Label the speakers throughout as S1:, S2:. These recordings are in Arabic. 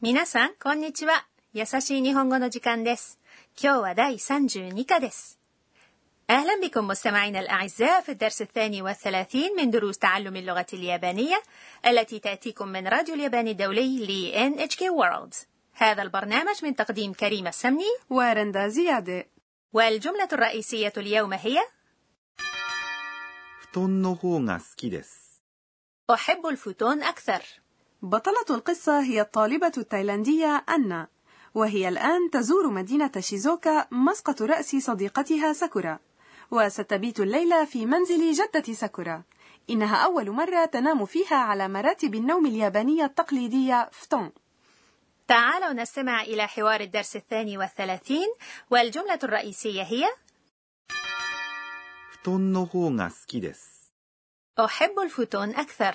S1: 皆さん、こんにちは。優しい日本語の時間です。今日は第32課です。أهلا بكم مستمعينا الأعزاء في الدرس الثاني والثلاثين من دروس تعلم اللغة اليابانية التي تأتيكم من راديو اليابان الدولي ل NHK World هذا البرنامج من تقديم كريم السمني
S2: ورندا زيادة
S1: والجملة الرئيسية اليوم هي
S3: 布団の方が好きです
S1: أحب الفوتون أكثر
S2: بطلة القصة هي الطالبة التايلاندية أنا وهي الآن تزور مدينة شيزوكا مسقط رأس صديقتها ساكورا وستبيت الليلة في منزل جدة ساكورا إنها أول مرة تنام فيها على مراتب النوم اليابانية التقليدية فتون
S1: تعالوا نستمع إلى حوار الدرس الثاني والثلاثين والجملة الرئيسية هي
S3: 布団の方が好きです
S1: أحب الفوتون أكثر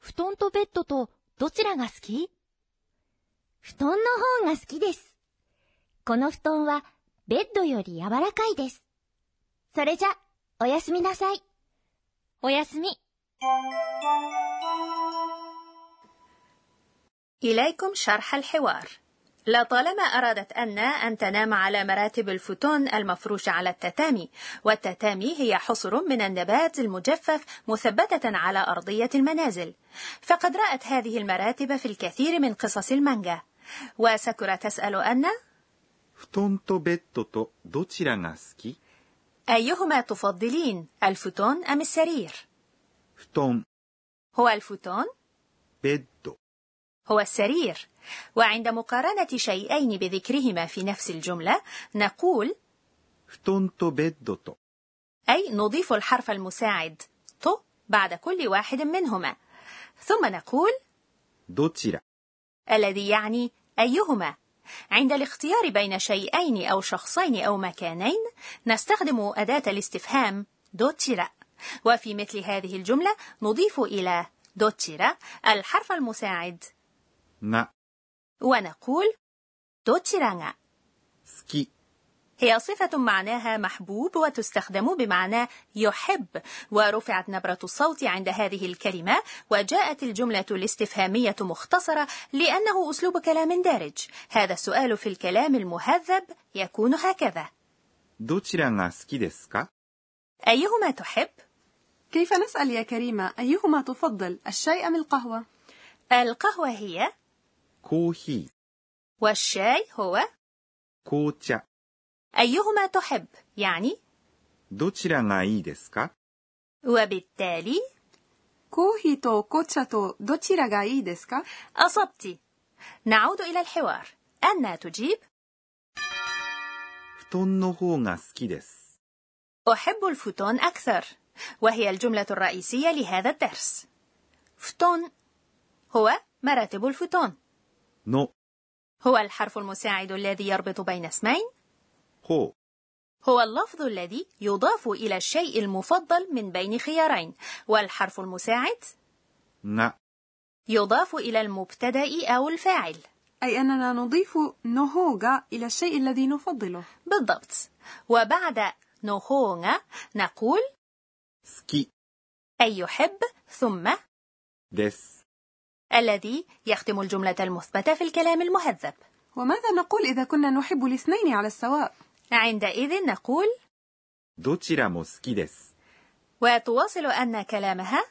S4: 布団とベッドとどちらが好き布団の方が好きです。この布団はベッドより柔らかいです。それじゃ、おやすみなさい。おやすみ。
S1: إليكم شرح الحوار لطالما أرادت أن أن تنام على مراتب الفوتون المفروش على التتامي والتتامي هي حصر من النبات المجفف مثبتة على أرضية المنازل فقد رأت هذه المراتب في الكثير من قصص المانجا وساكورا تسأل أن
S3: 布団とベッドとどちらが好き
S1: أيهما تفضلين الفوتون أم السرير
S3: 布団
S1: هو الفوتون
S3: ベッド
S1: هو السرير وعند مقارنة شيئين بذكرهما في نفس الجملة نقول
S3: 布団とベッドと
S1: أي نضيف الحرف المساعد تو بعد كل واحد منهما ثم نقول
S3: どちら
S1: الذي يعني أيهما عند الاختيار بين شيئين أو شخصين أو مكانين نستخدم أداة الاستفهام دوتشيرا وفي مثل هذه الجملة نضيف إلى دوتشيرا الحرف المساعد
S3: が
S1: ونقول دوتشيراغا
S3: 好き
S1: هي صفة معناها محبوب وتستخدم بمعنى يحب ورفعت نبرة الصوت عند هذه الكلمة وجاءت الجملة الاستفهامية مختصرة لأنه أسلوب كلام دارج هذا السؤال في الكلام المهذب يكون هكذا
S3: どちらが好きですか
S1: أيهما تحب؟
S2: كيف نسأل يا كريمة أيهما تفضل الشاي أم القهوة؟
S1: القهوة هي
S3: コーヒ
S1: والشاي هو
S3: ー、紅茶、
S1: أيهما تحب يعني
S3: どちらがいいですか
S1: وبالتالي
S2: كوهي تو كوتشا تو دوتشيرا غا إي ديسو كا؟
S1: أصبت نعود إلى الحوار أنا تجيب
S3: 布団の方が好きです。
S1: أحب الفوتون أكثر وهي الجملة الرئيسية لهذا الدرس فتون هو مراتب الفوتون
S3: の
S1: هو الحرف المساعد الذي يربط بين اسمين
S3: 方
S1: هو اللفظ الذي يضاف إلى الشيء المفضل من بين خيارين والحرف المساعد
S3: が
S1: يضاف إلى المبتدأ أو الفاعل
S2: أي أننا نضيف نوهوغا إلى الشيء الذي نفضله
S1: بالضبط وبعد نوهونغ نقول
S3: 好き
S1: أي يحب ثم
S3: です。
S1: الذي يختم الجملة المثبتة في الكلام المهذب
S2: وماذا نقول إذا كنا نحب الاثنين على السواء؟
S1: عندئذ نقول
S3: どちらも好きです。
S1: وتواصل أن كلامها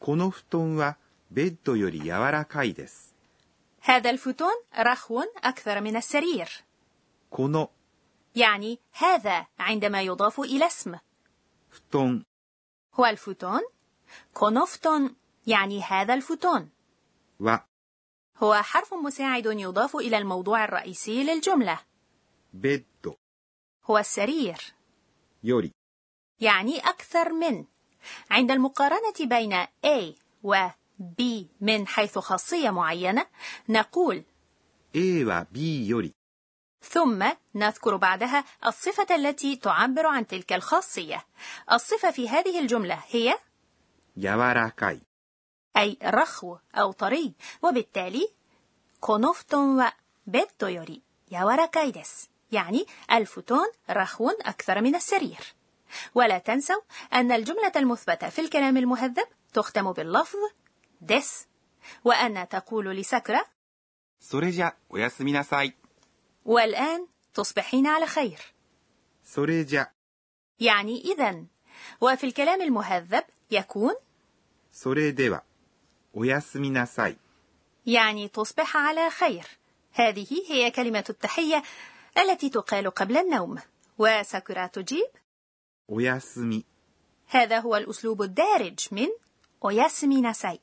S3: この布団はベッドより柔らかいです。
S1: هذا الفوتون رخو أكثر من السرير
S3: この
S1: يعني هذا عندما يضاف إلى اسم
S3: 布団
S1: هو الفوتون كونوفتون يعني هذا الفوتون
S3: は
S1: هو حرف مساعد يضاف إلى الموضوع الرئيسي للجملة
S3: ベッド
S1: هو السرير
S3: より
S1: يعني أكثر من عند المقارنة بين A و B من حيث خاصية معينة نقول
S3: A は B より
S1: ثم نذكر بعدها الصفة التي تعبر عن تلك الخاصية الصفة في هذه الجملة هي
S3: 柔らかい。
S1: أي رخو أو طري وبالتالي كونوفتون و بيتو يوري يوركايدس يعني الفوتون رخو أكثر من السرير ولا تنسوا أن الجملة المثبتة في الكلام المهذب تختم باللفظ دس وأنا تقول لسكرة
S3: それじゃ、おやすみなさい。
S1: والآن تصبحين على خير
S3: それじゃ、
S1: يعني إذا وفي الكلام المهذب يكون
S3: それでは、おやすみなさい。
S1: يعني تصبح على خير هذه هي كلمة التحية التي تقال قبل النوم وساكورا تجيب
S3: おやすみ。
S1: هذا هو الأسلوب الدارج من أوياسمي ناساي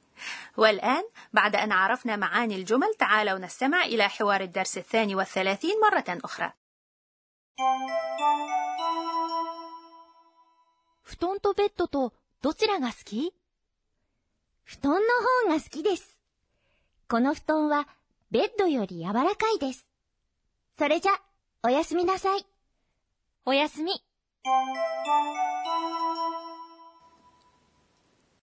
S1: والآن بعد أن عرفنا معاني الجمل تعالوا نستمع إلى حوار الدرس الثاني والثلاثين مرة أخرى
S4: 布団とベッドとどちらが好き布団の方が好きです。この布団はベッドより柔らかいです。それじゃ、おやすみなさい。おやすみ。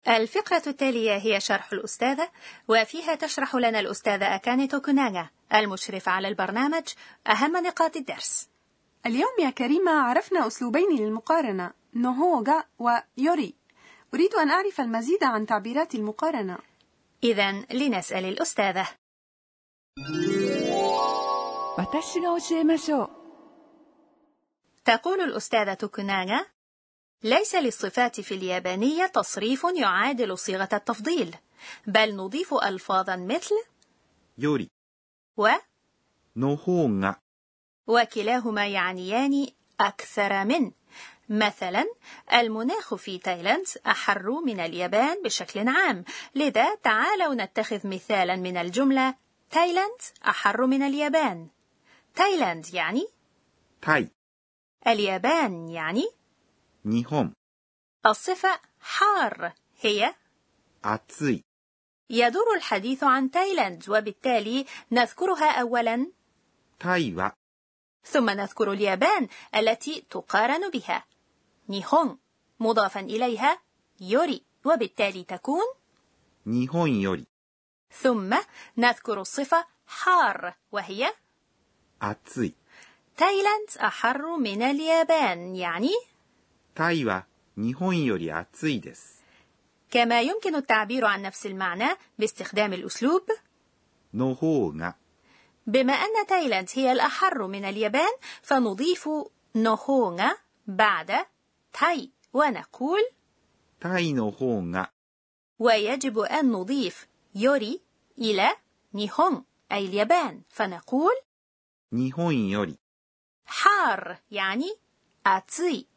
S1: الفقرة التالية هي شرح الأستاذة وفيها تشرح لنا الأستاذة أكاني توكوناغا المشرفة على البرنامج أهم نقاط الدرس
S2: اليوم يا كريمة عرفنا أسلوبين للمقارنة نوهوغا ويوري أريد أن أعرف المزيد عن تعبيرات المقارنة
S1: إذا لنسأل الأستاذة
S5: 私が教えましょう
S1: تقول الأستاذة توكوناغا ليس للصفات في اليابانية تصريف يعادل صيغة التفضيل بل نضيف ألفاظا مثل
S3: より、
S1: و
S3: の方が、
S1: وكلاهما يعنيان أكثر من مثلا المناخ في تايلاند أحر من اليابان بشكل عام لذا تعالوا نتخذ مثالا من الجملة تايلاند أحر من اليابان تايلاند يعني
S3: タイ、
S1: اليابان يعني
S3: 日本、
S1: الصفة حار هي
S3: 暑い、
S1: يدور الحديث عن تايلاند وبالتالي نذكرها أولا
S3: タイは、
S1: ثم نذكر اليابان التي تقارن بها نيهون مضافا إليها يوري وبالتالي تكون
S3: 日本より、
S1: ثم نذكر الصفة حار وهي
S3: 暑い。
S1: تايلاند أحر من اليابان يعني
S3: タイは、日本より暑いです。
S1: كما يمكن التعبير عن نفس المعنى باستخدام الأسلوب
S3: の方が、
S1: بما أن تايلاند هي الأحر من اليابان فنضيف نوهونغا بعد تاي ونقول
S3: タイの方が、
S1: ويجب أن نضيف يوري إلى نيهون أي اليابان فنقول
S3: 日本より、
S1: حار يعني أتسي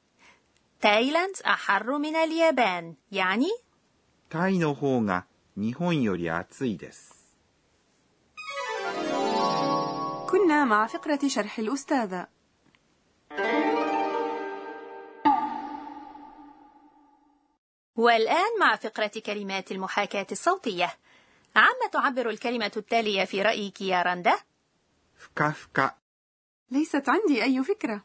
S1: تايلاند أحر من اليابان يعني
S3: タイの方が、日本より暑いです。
S2: كنا مع فقرة شرح الأستاذة
S1: والآن مع فقرة كلمات المحاكاة الصوتية عما تعبر الكلمة التالية في رأيك يا رندا؟
S3: ふかふか、
S2: ليست عندي أي فكرة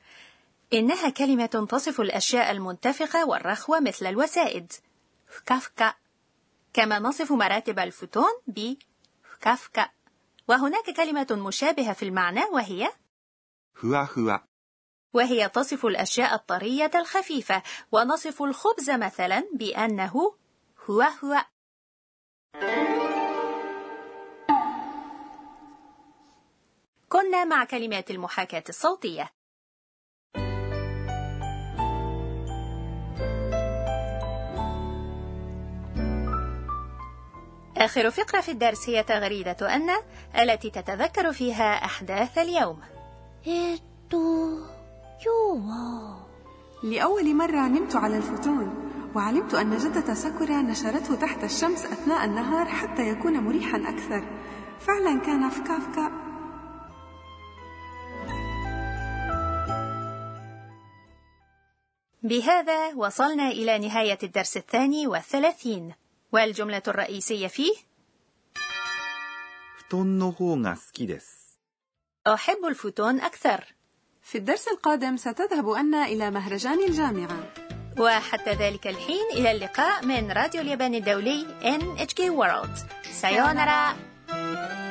S1: إنها كلمة تصف الأشياء المنتفخة والرخوة مثل الوسائد فكافكا كما نصف مراتب الفوتون ب فكافكا وهناك كلمة مشابهة في المعنى وهي
S3: ふわふわ、
S1: وهي تصف الأشياء الطرية الخفيفة ونصف الخبز مثلا بأنه هو هو كنا مع كلمات المحاكاة الصوتية آخر فقرة في الدرس هي تغريدة أن التي تتذكر فيها أحداث اليوم
S4: えー、っと、今日は、
S2: لأول مرة نمت على الفوتون وعلمت أن جدة ساكورا نشرته تحت الشمس أثناء النهار حتى يكون مريحا أكثر فعلا كان فكافكا
S1: بهذا وصلنا إلى نهاية الدرس الثاني والثلاثين والجملة الرئيسية فيه
S3: 布団の方が好きです。
S1: أحب الفوتون أكثر
S2: في الدرس القادم ستذهب أنا إلى مهرجان الجامعة
S1: وحتى ذلك الحين إلى اللقاء من راديو اليابان الدولي NHK World سايونارا